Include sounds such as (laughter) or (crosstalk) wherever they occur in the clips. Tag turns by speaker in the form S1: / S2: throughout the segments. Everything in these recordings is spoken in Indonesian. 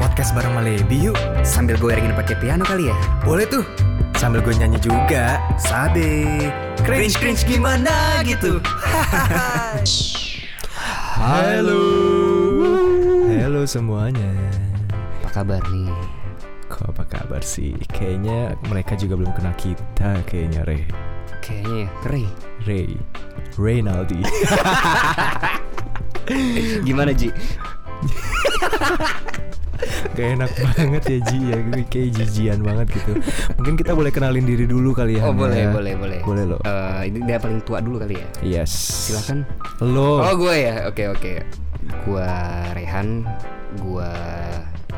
S1: podcast bareng Malebi yuk.
S2: Sambil gue iringin pakai piano kali ya.
S1: Boleh tuh. Sambil gue nyanyi juga. Sabe. Cringe cringe gimana gitu. Halo. Halo semuanya.
S2: Apa kabar nih?
S1: Kok apa kabar sih? Kayaknya mereka juga belum kenal kita kayaknya Re.
S2: Kayaknya ya, Ray.
S1: Ray. Reynaldi.
S2: (laughs)
S1: (laughs)
S2: Gimana Ji?
S1: Gak enak banget ya Ji ya Gue kayak jijian banget gitu Mungkin kita boleh kenalin diri dulu kali ya
S2: Oh
S1: Han,
S2: boleh,
S1: ya.
S2: boleh, boleh.
S1: Boleh loh
S2: Eh, ini dia paling tua dulu kali ya.
S1: Yes
S2: Silakan.
S1: Lo
S2: Oh, gue ya. Oke, oke. Gua Rehan, gua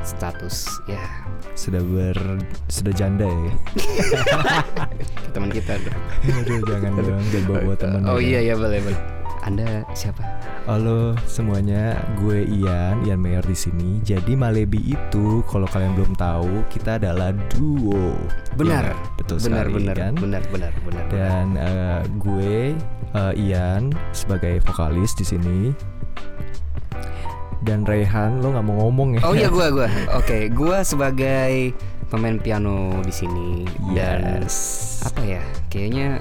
S2: status ya
S1: Sudah ber Sudah janda ya
S2: teman kita. dong.
S1: Aduh jangan dong Jangan bawa-bawa temen
S2: oh
S1: ya.
S2: iya iya boleh, boleh. Anda siapa?
S1: Halo semuanya, gue Ian, Ian Mayer di sini. Jadi Malebi itu kalau kalian belum tahu, kita adalah duo.
S2: Benar.
S1: Ya, betul
S2: benar,
S1: sekali
S2: benar,
S1: kan?
S2: benar, benar, benar, benar.
S1: Dan eh, gue eh, Ian sebagai vokalis di sini. Dan Rehan, lo nggak mau ngomong ya?
S2: Oh iya gua gua. Oke, gua sebagai pemain piano di sini
S1: (laughs)
S2: dan
S1: Yes.
S2: apa ya? Kayaknya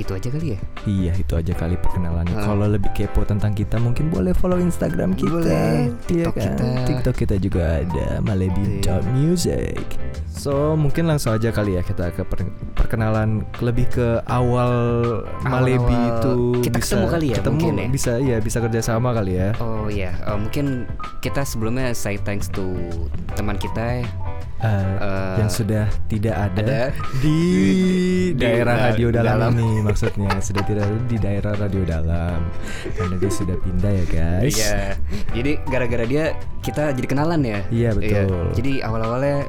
S2: itu aja kali ya.
S1: Iya itu aja kali perkenalannya.
S2: Hmm.
S1: Kalau lebih kepo tentang kita, mungkin boleh follow Instagram kita,
S2: Boleh,
S1: Iya
S2: TikTok
S1: kan?
S2: kita.
S1: TikTok kita juga ada malebi.music. So mungkin langsung aja kali ya kita ke per- perkenalan lebih ke awal Malebi
S2: Awal-awal
S1: itu
S2: kita
S1: bisa
S2: ketemu kali ya,
S1: ketemu,
S2: mungkin ya?
S1: bisa ya bisa kerjasama kali ya.
S2: Oh ya, eh, mungkin kita sebelumnya say thanks to teman kita ya.
S1: Eh,
S2: Eh,
S1: yang sudah tidak ada,
S2: ada
S1: di
S2: di-
S1: daerah
S2: di-
S1: radio dalam,
S2: dalam.
S1: ini maksudnya sudah tidak ada di daerah radio dalam karena dia sudah pindah ya guys.
S2: Iya. Jadi gara-gara dia kita jadi kenalan ya.
S1: Iya, betul.
S2: Jadi awal-awalnya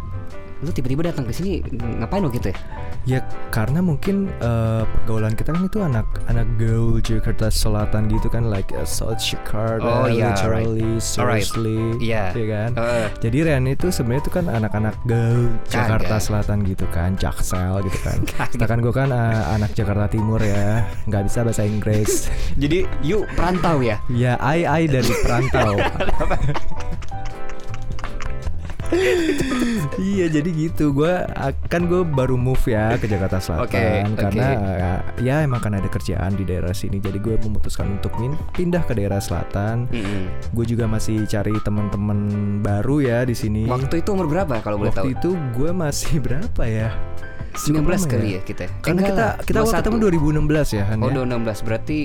S2: lu tiba-tiba datang ke sini ngapain lo gitu ya?
S1: Ya karena mungkin eh, pergaulan kita kan itu anak anak gaul Jakarta Selatan gitu kan like uh, South Jakarta
S2: Oh, iya,
S1: literally
S2: right. Alright.
S1: seriously
S2: Iya.
S1: ya kan.
S2: Heeh.
S1: Jadi Ren itu sebenarnya itu kan anak-anak gaul Jakarta
S2: Kagak.
S1: Selatan gitu kan, Jaksel gitu kan.
S2: (laughs) Kagak.
S1: Sedangkan gue kan eh, anak Jakarta Timur ya, nggak bisa bahasa
S2: (laughs)
S1: Inggris.
S2: jadi yuk
S1: (laughs)
S2: perantau ya.
S1: ya ai ai dari perantau. iya jadi gitu gue akan gue baru move ya ke Jakarta Selatan
S2: Oke, oke.
S1: karena eh, ya emang kan ada kerjaan di daerah sini jadi gue memutuskan untuk min- pindah ke daerah selatan
S2: Mm-mm.
S1: gue juga masih cari teman-teman baru ya di sini
S2: Waktu itu umur berapa kalau boleh
S1: Waktu
S2: tahu?
S1: itu gue masih (laughs) berapa ya
S2: 19
S1: Cukup lama
S2: kali
S1: ya?
S2: ya, kita.
S1: karena
S2: Enggak
S1: kita
S2: lah,
S1: kita awal
S2: 21.
S1: ketemu 2016 ya Han
S2: Oh,
S1: ya?
S2: udah 16 berarti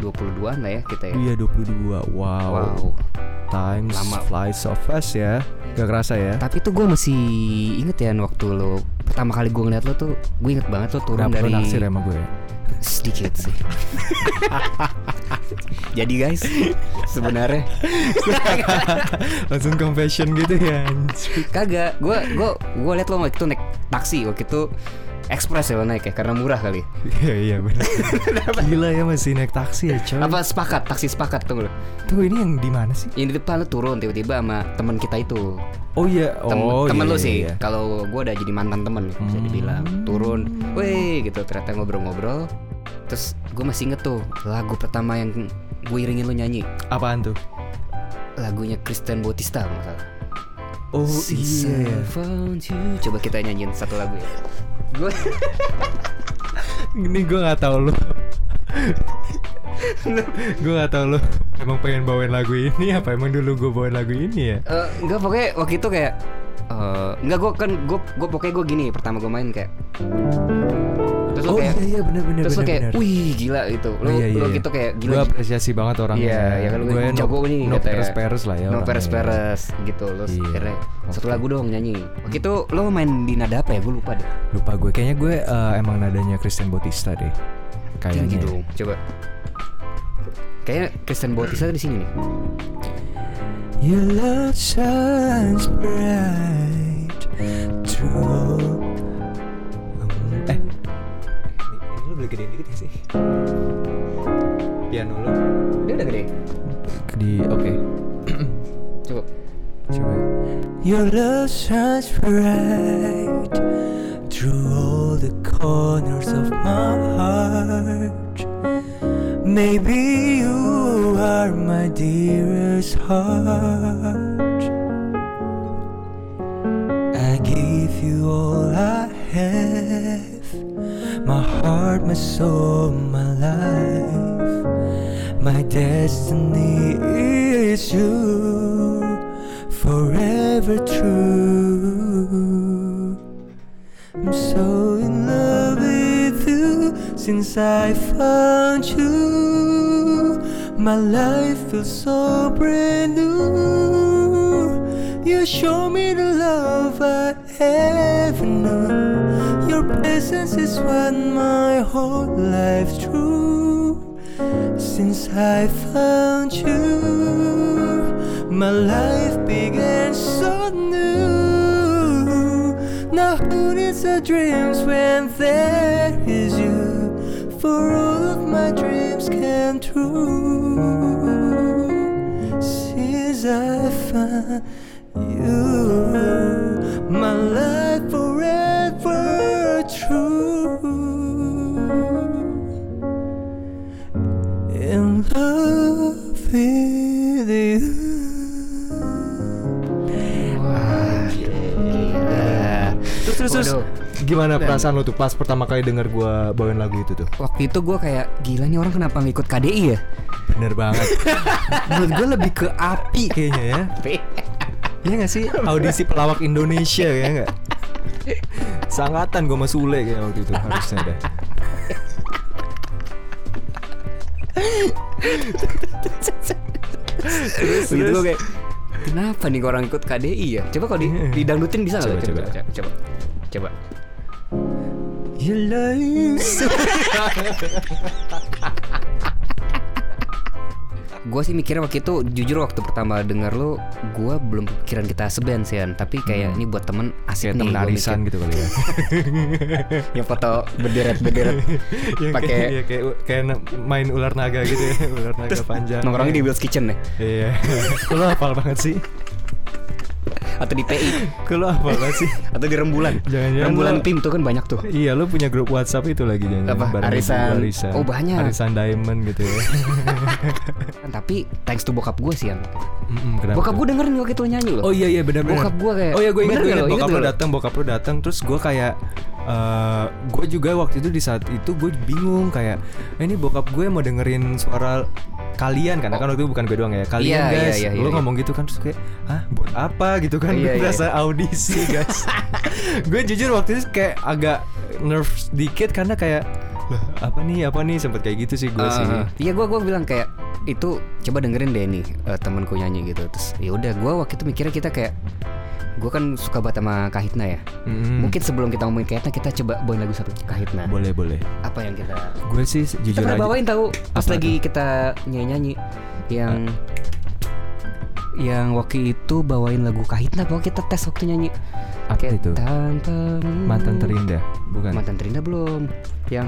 S2: 22-an lah ya kita ya.
S1: Iya 22 wow,
S2: Wow.
S1: Time
S2: Lama.
S1: flies so fast ya Gak kerasa ya
S2: Tapi tuh gue masih inget ya waktu lo pertama kali gue ngeliat lo tuh gue inget banget lo turun
S1: Kenapa lu
S2: dari
S1: naksir sama ya. gue
S2: (laughs) sedikit sih. (laughs) Jadi guys sebenarnya
S1: Langsung confession gitu ya anjir.
S2: (laughs) kagak gue gue gue liat lo waktu itu naik taksi waktu itu ekspres ya lo naik ya karena murah kali.
S1: Iya iya benar. Gila ya masih naik taksi ya coy.
S2: Apa sepakat taksi sepakat tunggu lo.
S1: Tuh ini yang di mana sih?
S2: Yang di depan lo turun tiba-tiba sama teman kita itu.
S1: Oh iya,
S2: Tem
S1: oh iya,
S2: temen lo sih
S1: iya. Hmm.
S2: kalau gue udah jadi mantan temen bisa dibilang turun weh gitu ternyata ngobrol-ngobrol terus gue masih inget tuh lagu pertama yang gue iringin lo nyanyi
S1: Apaan tuh?
S2: lagunya Kristen Bautista kalau nggak salah
S1: Oh
S2: Since
S1: iya.
S2: I found you. coba kita nyanyiin satu lagu ya gue
S1: Ini gue nggak (laughs) tahu lo. gue nggak tahu lo emang pengen bawain lagu ini apa emang dulu gue bawain lagu ini ya?
S2: (laughs) Eh, enggak pokoknya waktu itu kayak eh, enggak gue kan gue gue pokoknya gue gini pertama gue main kayak terus lo
S1: oh
S2: kayak
S1: iya iya benar benar
S2: terus lo
S1: benar.
S2: kayak
S1: benar.
S2: wih gila gitu lo,
S1: Oh, iya, iya,
S2: lo
S1: iya.
S2: gitu kayak gila
S1: Gue apresiasi banget orangnya.
S2: Iya, ya kan lu
S1: gue no-
S2: jago nih
S1: no
S2: katanya.
S1: peres peres lah ya.
S2: No
S1: orangnya.
S2: peres peres gitu terus
S1: Iya,
S2: akhirnya satu
S1: oke.
S2: lagu dong nyanyi. Waktu itu lo main di nada apa ya? Gue lupa deh.
S1: Lupa gue kayaknya gue eh, emang nadanya Christian Bautista deh.
S2: Jangan
S1: Kayaknya.
S2: gitu dong. Coba. Kayaknya Kristen Bautista di sini nih.
S1: Your love shines bright through. Eh, ini, ini lo boleh gedein dikit gak sih? Piano lo?
S2: Dia udah gede.
S1: Di, oke.
S2: Coba.
S1: Coba. Your love shines bright through all the corners of my heart. Maybe you are my dearest heart. past all my life. My destiny is you, forever true. I'm so in love with you since I found you. My life feels so brand new. You show me the love I ever knew. Your presence is what my whole life drew. Since I found you, my life began so new. Now who needs our dreams when there is you? For all of my dreams came true. Since I found you, my life forever true. In love with you. Terus terus, terus.
S2: Waduh.
S1: gimana perasaan lu tuh pas pertama kali denger gua bawain lagu itu tuh?
S2: Waktu itu gue kayak gila nih orang kenapa ngikut KDI ya?
S1: Bener (laughs) banget. Menurut gua lebih ke api kayaknya ya. Iya gak sih? Audisi pelawak Indonesia ya nggak? Sangatan gua sama Sule kayaknya waktu itu harusnya deh.
S2: Terus gitu
S1: Terus.
S2: gue kayak kenapa nih orang ikut KDI ya? Coba kalau di, didangdutin bisa nggak?
S1: Iya. Coba,
S2: coba coba. Coba.
S1: Your life.
S2: Gue sih mikirnya waktu itu jujur waktu pertama denger lu, gue belum pikiran kita seband sih tapi kayak ini buat temen asik
S1: Hmm. Temen
S2: nih. gua
S1: arisan gitu kali (laughs) ya.
S2: mikir. (laughs) yang foto berderet
S1: (laughs)
S2: berderet
S1: Yang
S2: Pakai-
S1: kayak, ya, kayak kayak na- main ular naga gitu ya, (laughs) ular naga panjang.
S2: nongkrongnya di Will's Kitchen ya. nih
S1: (laughs) Iya. Lu hafal banget sih.
S2: atau di PI
S1: Lu hafal banget sih.
S2: atau di Rembulan.
S1: Jangan-jangan
S2: Rembulan
S1: lu-
S2: PIM tuh kan banyak tuh.
S1: (laughs) Iya, lu punya grup WhatsApp itu lagi jangan
S2: Apa? Arisan. Oh, banyak.
S1: Arisan Diamond gitu ya. (laughs)
S2: Tapi thanks to bokap gue sih yang.
S1: Mm-mm, kenapa
S2: Bokap
S1: tuh?
S2: gue dengerin waktu itu nyanyi loh.
S1: Oh iya iya benar-benar.
S2: gitu. Bokap gua kayak-
S1: Oh iya gue ingat
S2: Bener
S1: gue ingat
S2: nggak lo? Gitu Ingat
S1: bokap lu
S2: nggak lo?
S1: datang, bokap lu datang terus gue kayak eh gue juga waktu itu di saat itu gue bingung kayak "Eh, ini bokap gue mau dengerin suara kalian karena kan waktu itu bukan gue doang ya kalian
S2: Iya, iya,
S1: guys
S2: iya,
S1: lu
S2: iya.
S1: ngomong gitu kan terus kayak ah buat apa gitu kan
S2: Iya, iya.
S1: berasa audisi
S2: (laughs)
S1: guys gue jujur waktu itu kayak agak nervous dikit karena kayak "Lah, apa nih apa nih sempet kayak gitu sih gue sih
S2: Ah, Iya gue gua bilang kayak itu coba dengerin deh nih eh, temanku nyanyi gitu terus ya udah gue waktu itu mikirnya kita kayak gue kan suka banget sama Kahitna ya
S1: Mm-mm.
S2: mungkin sebelum kita ngomongin Kahitna kita coba bawain lagu satu Kahitna
S1: boleh boleh
S2: apa yang kita
S1: gue sih
S2: kita
S1: jujur
S2: pernah
S1: aja
S2: bawain tahu pas
S1: Apa
S2: lagi kita nyanyi nyanyi yang Ah. yang waktu itu bawain lagu Kahitna pokoknya kita tes waktu nyanyi
S1: Apa
S2: Kayak
S1: itu?
S2: Tanpa
S1: mantan terindah bukan
S2: mantan terindah belum yang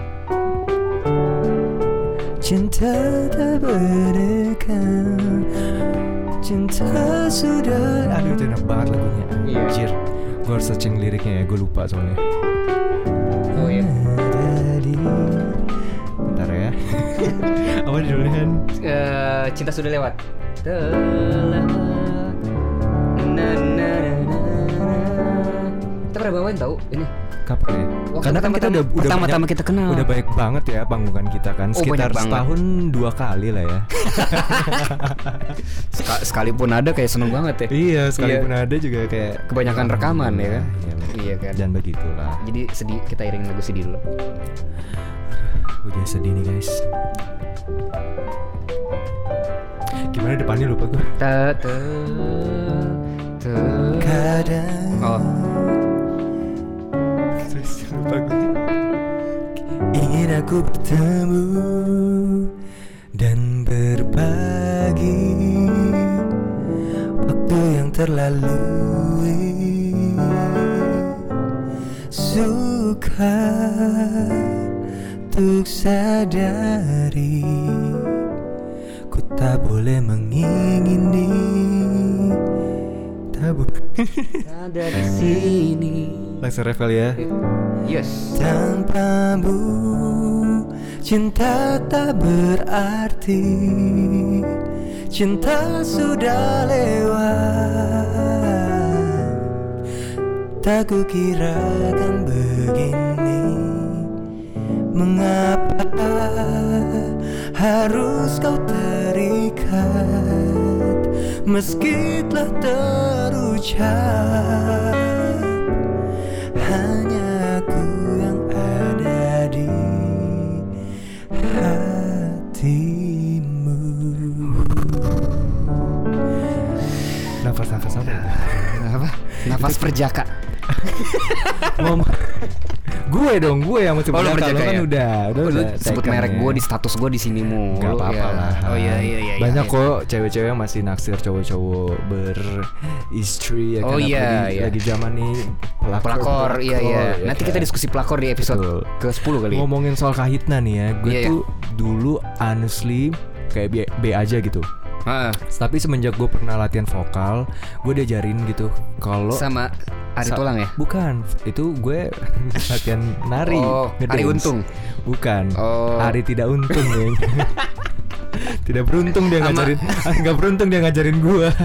S1: Cinta tak berikan Cinta sudah Aduh itu enak banget lagunya
S2: Iya.
S1: Anjir Gue harus searching liriknya ya Gue lupa soalnya
S2: oh ya
S1: Ada di- Bentar ya (laughs) Apa judulnya?
S2: Eh, cinta sudah lewat. Telah. Na, na, na, na, na. Kita pernah bawain tahu ini.
S1: Kapan ya?
S2: Waktu
S1: Karena kan kita
S2: Oh, pertama-tama-
S1: udah udah
S2: pertama-tama kita kenal.
S1: Udah baik banget ya panggungan kita kan
S2: Oh,
S1: Sekitar
S2: banyak banget.
S1: setahun dua kali lah
S2: (laughs)
S1: ya
S2: sekalipun ada kayak seneng banget ya.
S1: Iya sekalipun ada juga kayak
S2: Kebanyakan rekaman, ya kan?
S1: Iya,
S2: Iya kan.
S1: Dan begitulah
S2: Jadi sedih kita iringin lagu sedih dulu.
S1: Gue jadi sedih nih guys Gimana depannya lupa gue
S2: Ta ta ta.
S1: Kadang
S2: Oh.
S1: Terus lupa gue Ingin aku bertemu Dan berbagi Waktu yang terlalui Suka Untuk sadari Ku tak boleh mengingini Tabu (laughs)
S2: Ada di sini.
S1: Langsung revel ya
S2: Yes.
S1: Tanpamu cinta tak berarti Cinta sudah lewat Tak kukirakan begini Mengapa harus kau terikat Meski telah terucap Hanya aku yang ada di hatimu
S3: Nafas nafas apa? ya?
S2: apa nafas perjaka
S3: Ngomong. gue dong, gue yang masih
S2: Oh, lu
S3: berjaka.
S2: berjaka
S3: Lu kan
S2: ya?
S3: udah, udah,
S2: Oh, lu
S3: udah
S2: sebut
S3: teken
S2: merek
S3: ya.
S2: gue di status gue di sini mulu
S3: Gak apa-apa
S2: ya.
S3: lah.
S2: oh iya iya iya
S3: Banyak
S2: iya.
S3: kok cewek-cewek yang masih naksir cowok-cowok beristri ya
S2: Oh,
S3: kan,
S2: iya,
S3: apalagi
S2: iya.
S3: lagi zaman nih pelakor,
S2: pelakor iya iya
S3: ya
S2: nanti
S3: kan.
S2: kita diskusi pelakor di episode
S3: Betul.
S2: ke 10 kali
S3: ngomongin soal kahitna nih ya. Gue
S2: Iya, iya.
S3: tuh dulu honestly kayak B, B aja gitu.
S2: Heeh.
S3: Tapi semenjak gue pernah latihan vokal, gue diajarin gitu
S1: Oh.
S3: kalau
S2: sama Ari
S3: Sa-
S2: Tulang ya
S3: Bukan, itu gue (laughs) latihan nari.
S2: Oh, Ari
S3: ngedance.
S2: Untung.
S3: Bukan.
S2: Oh.
S3: Ari tidak
S2: (laughs)
S3: untung, Deng. tidak beruntung dia
S2: Ama-
S3: ngajarin. (laughs) Ah, Nggak beruntung dia ngajarin gue.
S2: (laughs)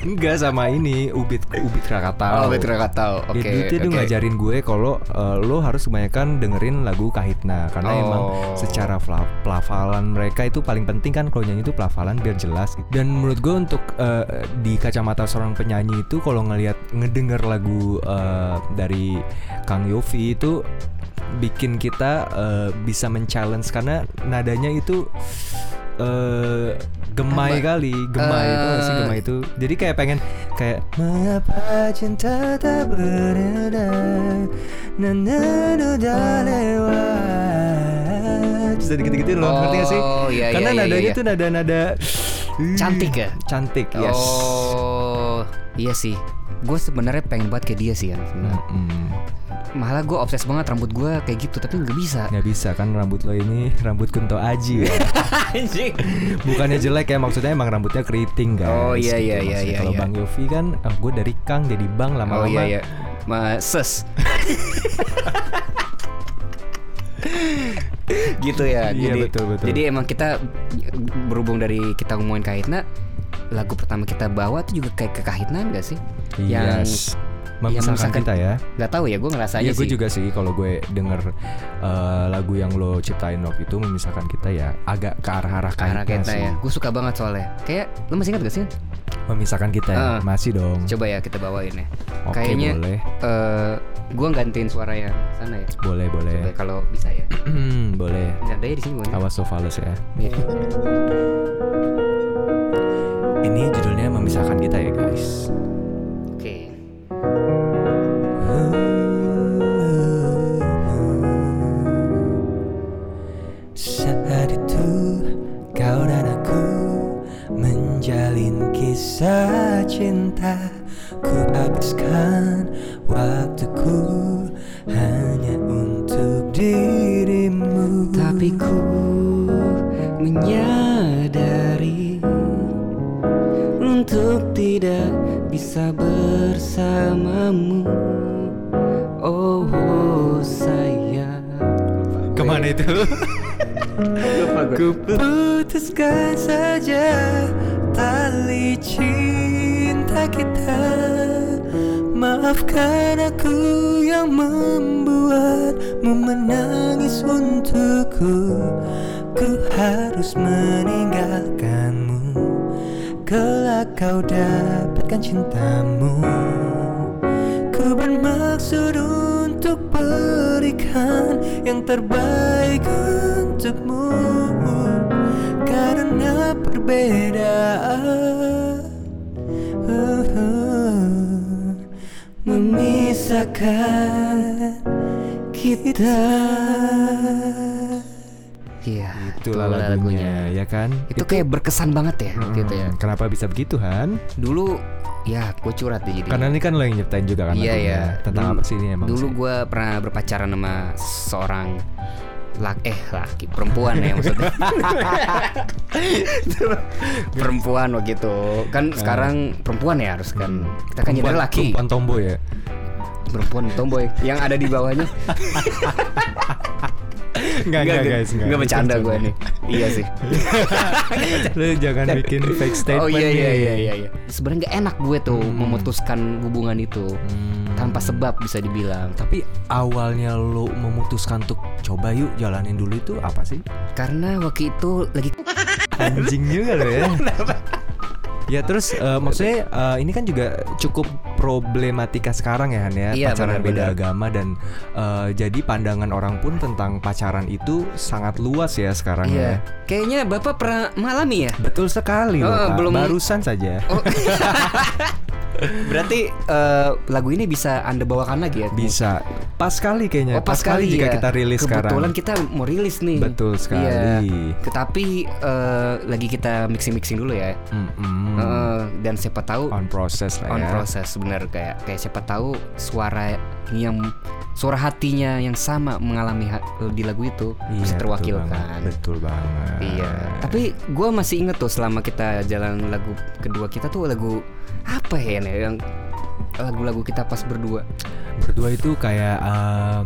S3: Enggak sama ini Ubit Ubit Krakatau.
S2: oh Betul nggak
S1: Ya,
S2: tahu oke
S3: Dia- Ya, dia, dia tuh
S2: oke.
S3: ngajarin gue kalau eh, lo harus kebanyakan dengerin lagu Kahitna karena
S2: Oh.
S3: emang secara pela- pelafalan mereka itu paling penting kan kalau nyanyi itu pelafalan biar jelas. gitu. Dan menurut gue untuk eh, di kacamata seorang penyanyi itu kalau ngelihat ngedenger lagu eh, dari Kang Yofi itu bikin kita eh, bisa men-challenge karena nadanya itu eh, gemai
S2: Apa?
S3: kali, gemai itu sih
S2: Eh.
S3: gemai itu. Jadi kayak pengen kayak
S1: Mengapa cinta tak berdaya Nana udah lewat
S3: bisa dikit-dikitin loh, ngerti gak sih?
S2: Oh, iya,
S3: Karena
S2: iya, iya,
S3: nadanya
S2: iya.
S3: tuh nada-nada
S2: Cantik ya?
S3: Cantik, yes.
S2: oh iya sih gue sebenarnya pengen banget kayak dia sih kan sebenarnya. malah gue obses banget rambut gue kayak gitu tapi nggak
S3: (laughs)
S2: bisa
S3: Gak bisa kan rambut lo ini rambut Kunto Aji
S2: (laughs)
S3: ya.
S2: anjing
S3: Bukannya jelek ya maksudnya emang rambutnya keriting guys
S2: Oh, iya,
S3: gitu
S2: iya, iya,
S3: maksudnya.
S2: iya,
S3: Kalau
S2: iya.
S3: Bang Yofi kan eh, gue dari Kang jadi Bang lama-lama
S2: oh iya iya Ma, ses (laughs) gitu ya
S3: Iya,
S2: jadi
S3: betul, betul.
S2: jadi emang kita berhubung dari kita ngomongin kahitna lagu pertama kita bawa tuh juga kayak ke kahitna enggak sih yang
S3: Yes.
S2: yang
S3: Memisahkan
S2: memisahkan-
S3: kita ya
S2: nggak tahu ya gue ngerasanya
S3: Iya gue
S2: sih
S3: juga sih kalau gue denger eh, lagu yang lo ciptain waktu itu memisahkan kita ya agak ke arah-arah
S2: karena
S3: kahitna
S2: kahitna
S3: sih
S2: ya gue suka banget soalnya kayak lu masih ingat gak sih
S3: Memisahkan kita ya,
S2: Heeh.
S3: masih dong
S2: coba ya kita bawain ya
S3: Oke
S2: kayaknya
S3: boleh,
S2: eh, gue gantiin suara yang sana ya
S3: boleh, boleh Hmm,
S2: Coba kalau bisa ya
S3: Boleh
S2: nadanya di sini gua nih.
S3: Awas Sovalus ya
S2: Iya.
S3: Ini judulnya memisahkan kita ya guys
S2: oke
S1: Saat itu kau dan aku menjalin kisah cinta Ku habiskan waktuku hanya untuk dirimu
S2: Tapi ku menyadari Untuk tidak bisa bersamamu Oh, sayang
S3: Kemana itu?
S1: Ku putuskan saja tali cinta kita Maafkan aku yang membuatmu menangis untukku Ku harus meninggalkanmu Kelak kau dapatkan cintamu Ku bermaksud untuk berikan yang terbaik untukmu Karena perbedaan Memisahkan kita
S2: Iya,
S3: Itulah lagunya ya kan?
S2: Itu kayak berkesan banget ya gitu ya
S3: Hmm, Kenapa bisa begitu Han?
S2: Dulu ya gue curhat deh jadi
S3: Karena ini kan lo yang nyiptain juga kan
S2: Iya
S3: lagunya.
S2: ya.
S3: Tentang
S2: Dulu-
S3: apa sih ini emang
S2: Dulu
S3: sih?
S2: gue pernah berpacaran sama seorang lak eh laki perempuan ya
S3: (laughs)
S2: maksudnya. perempuan waktu itu. Kan sekarang perempuan ya harus kan. Kita kan nyadar
S3: Nah. Hmm. Perempuan-
S2: laki.
S3: Perempuan tomboy
S2: (laughs)
S3: ya (laughs)
S2: Perempuan tomboy yang ada di bawahnya.
S1: Enggak, enggak, guys, enggak.
S2: Enggak
S1: Itu
S2: bercanda gue
S1: bercanda. (laughs)
S2: nih. Iya sih.
S1: Lu jangan bikin fake statement.
S2: oh iya iya
S1: nih.
S2: iya iya. iya. Sebenarnya nggak enak gue tuh
S1: Hmm.
S2: memutuskan hubungan itu
S1: Hmm.
S2: tanpa sebab bisa dibilang.
S1: Tapi awalnya lu memutuskan untuk coba yuk jalanin dulu itu apa sih?
S2: Karena waktu itu lagi (laughs)
S1: Anjing juga lo ya. Ya terus eh, maksudnya eh, ini kan juga cukup problematika sekarang ya Han ya
S2: Iya,
S1: pacaran
S2: benar,
S1: beda
S2: benar.
S1: agama dan eh, jadi pandangan orang pun tentang pacaran itu sangat luas ya sekarang ya.
S2: Iya. Kayaknya Bapak pernah mengalami ya?
S1: Betul sekali loh
S2: Oh,
S1: Pak.
S2: belum-
S1: Barusan saja.
S2: Oh. (laughs) Berarti eh, lagu ini bisa Anda bawakan lagi ya?
S1: Bisa. Pas sekali kayaknya.
S2: Oh, pas sekali
S1: jika
S2: ya.
S1: kita rilis sekarang.
S2: Kebetulan kita mau rilis nih.
S1: Betul sekali.
S2: Iya. Tetapi eh, lagi kita mixing-mixing dulu ya.
S1: Mm-mm.
S2: Eh, dan siapa tahu
S1: Hmm. on process lah
S2: on
S1: ya.
S2: proses bener kayak kayak siapa tahu suara yang suara hatinya yang sama mengalami ha- di lagu itu
S1: Iya,
S2: bisa
S1: betul banget,
S2: terwakilkan.
S1: Betul banget.
S2: Iya. Tapi gue masih inget tuh selama kita jalan lagu kedua kita tuh lagu apa ya nih yang lagu-lagu kita pas berdua.
S1: berdua itu kayak eh,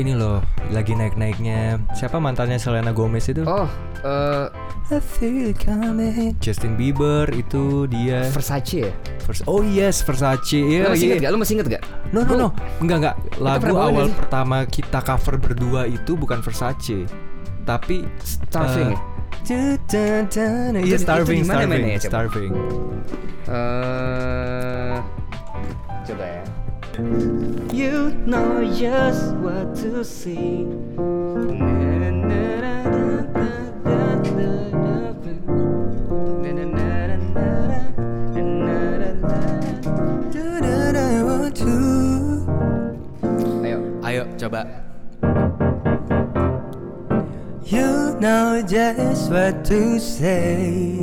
S1: ini loh lagi naik-naiknya siapa mantannya Selena Gomez itu
S2: Oh, eh,
S4: I feel it coming.
S1: Justin Bieber itu dia
S2: Versace ya?
S1: Vers- oh yes Versace
S2: Lu
S1: iya
S2: masih inget
S1: iya
S2: gak? Lu masih inget gak?
S1: no no
S2: Gua-
S1: no enggak enggak lagu
S2: pernah bawain
S1: awal
S2: gak sih?
S1: pertama kita cover berdua itu bukan Versace tapi
S2: Starving ya?
S1: eh, da- da- da-
S2: Itu-
S1: iya,
S2: itu
S1: starving,
S2: di mana
S1: starving,
S2: mainnya ya, coba?
S1: starving.
S2: eh coba ya. You know just what to see. Na, na, na, na, na, na, na, na, na, na, na, na, na, na, na.
S4: Do that I want to.
S2: Ayo.
S1: Ayo coba.
S4: You know just what to say.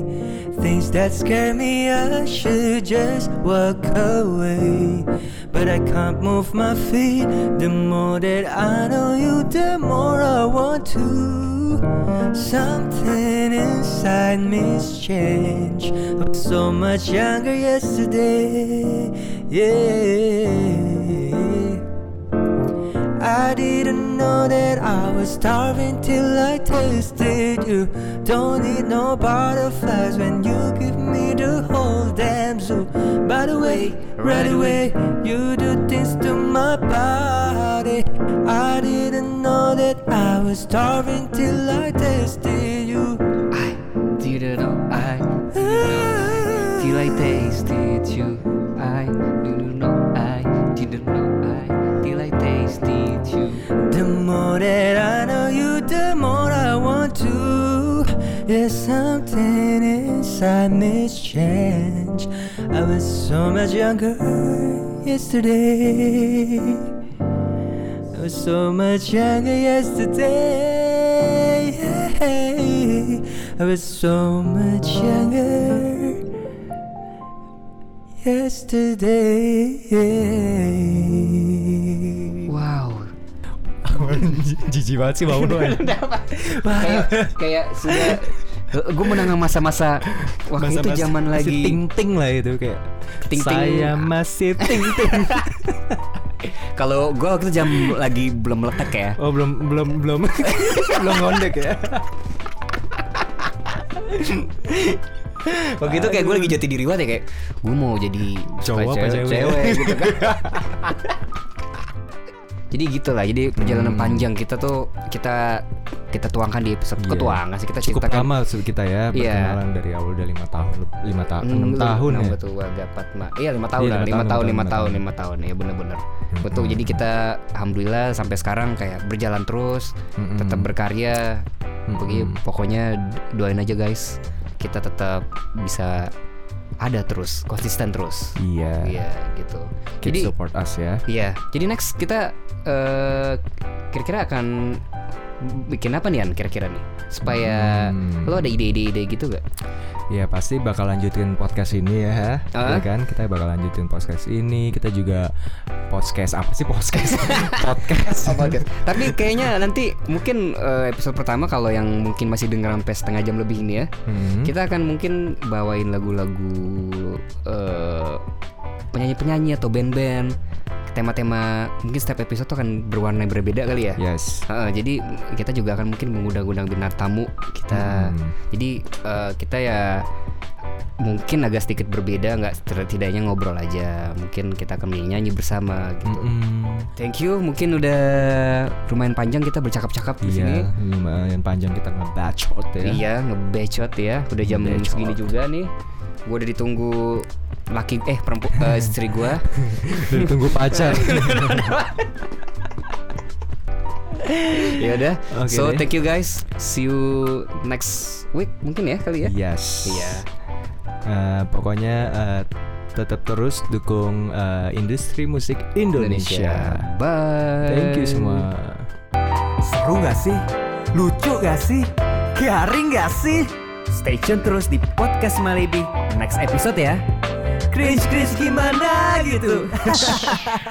S4: Things that scare me, I should just walk away. But I can't move my feet. The more that I know you, the more I want to. Something inside me's changed. I was so much younger yesterday. Yeah. I didn't know that I was starving till I tasted you. Don't need no butterflies when you give me the whole damn zoo. By the way, right away, you do things to my body. I didn't know that I was starving till I tasted you.
S2: I didn't know I didn't know till I tasted you. I didn't know I didn't know I till I tasted you.
S4: The more that I know you, the more I want to. There's something inside me's changed. I was so much younger yesterday. I was so much younger yesterday. I was so much younger yesterday.
S2: Wow.
S1: (laughs) Jijik banget sih
S2: eh.
S1: bangun doang.
S2: kayak kayak sudah gue menangan masa-masa waktu itu zaman lagi
S1: ting ting lah itu kayak
S2: Ting-ting.
S1: saya masih ting ting
S2: kalau gue waktu itu jam lagi belum meletak ya
S1: oh belum belum belum (laughs) belum ngondek ya
S2: waktu itu gitu kayak gue lagi jati diri banget ya kayak gue mau jadi suka
S1: Cowok apa cewek?
S2: gitu (laughs) kan jadi gitu lah jadi perjalanan panjang kita tuh kita kita tuangkan di episode
S1: Iya.
S2: ketuangan sih kita
S1: cukup
S2: ceritakan
S1: lama se- kita ya
S2: kan. Iya.
S1: perkenalan dari awal udah lima tahun leb- lima tahun
S2: enam
S1: enam tahun ya
S2: betul agak Patma. Iya lima tahun
S1: Iya,
S2: lah,
S1: lima
S2: lima
S1: tahun, lima
S2: tahun, lima
S1: tahun. Hmm,
S2: tahun, lima tahun ya bener-bener.
S1: Mm-mm.
S2: Betul. Jadi kita alhamdulillah sampai sekarang kayak berjalan terus,
S1: Mm-mm.
S2: tetap berkarya.
S1: Mm-mm.
S2: Pokoknya, pokoknya doain aja guys, kita tetap bisa ada terus, konsisten terus.
S1: iya
S2: Iya gitu.
S1: keep
S2: Jadi
S1: support us ya
S2: iya. Jadi next kita eh, kira-kira akan bikin apa nih An kira-kira nih supaya
S1: Hmm.
S2: lo ada ide-ide-ide gitu gak?
S1: Ya pasti bakal lanjutin podcast ini ya,
S2: Ah.
S1: ya kan? Kita bakal lanjutin podcast ini. Kita juga podcast apa sih podcast? (laughs) podcast.
S2: Oh, podcast. Tapi kayaknya nanti mungkin eh, episode pertama kalau yang mungkin masih denger sampai setengah jam lebih ini ya,
S1: Hmm.
S2: kita akan mungkin bawain lagu-lagu eh, penyanyi-penyanyi atau band-band tema-tema mungkin setiap episode tuh akan berwarna berbeda kali ya.
S1: Yes.
S2: Heeh, jadi kita juga akan mungkin mengundang-undang bintang tamu kita.
S1: Hmm.
S2: Jadi eh, kita ya mungkin agak sedikit berbeda, nggak setidaknya ngobrol aja. Mungkin kita akan nyanyi bersama gitu.
S1: Hmm, Mm-mm.
S2: Thank you, mungkin udah lumayan panjang kita bercakap-cakap di sini.
S1: Iya, lumayan panjang kita ngebacot ya. (laughs)
S2: Iya, ngebecot ya. Udah jam
S1: Ngebecot.
S2: segini juga nih. Gua udah ditunggu laki eh perempuan
S1: (laughs)
S2: istri gua.
S1: Dan tunggu pacar.
S2: ya udah.
S1: Oke
S2: so
S1: deh.
S2: thank you guys. See you next week mungkin ya kali ya.
S1: yes.
S2: Iya.
S1: Eh, pokoknya eh, tetap terus dukung eh, industri musik Indonesia.
S2: Bye.
S1: Thank you semua.
S5: Seru gak sih? Lucu gak sih? Garing gak sih? Stay tune terus di Podcast Malibi Next episode ya Cringe-cringe gimana gitu (laughs)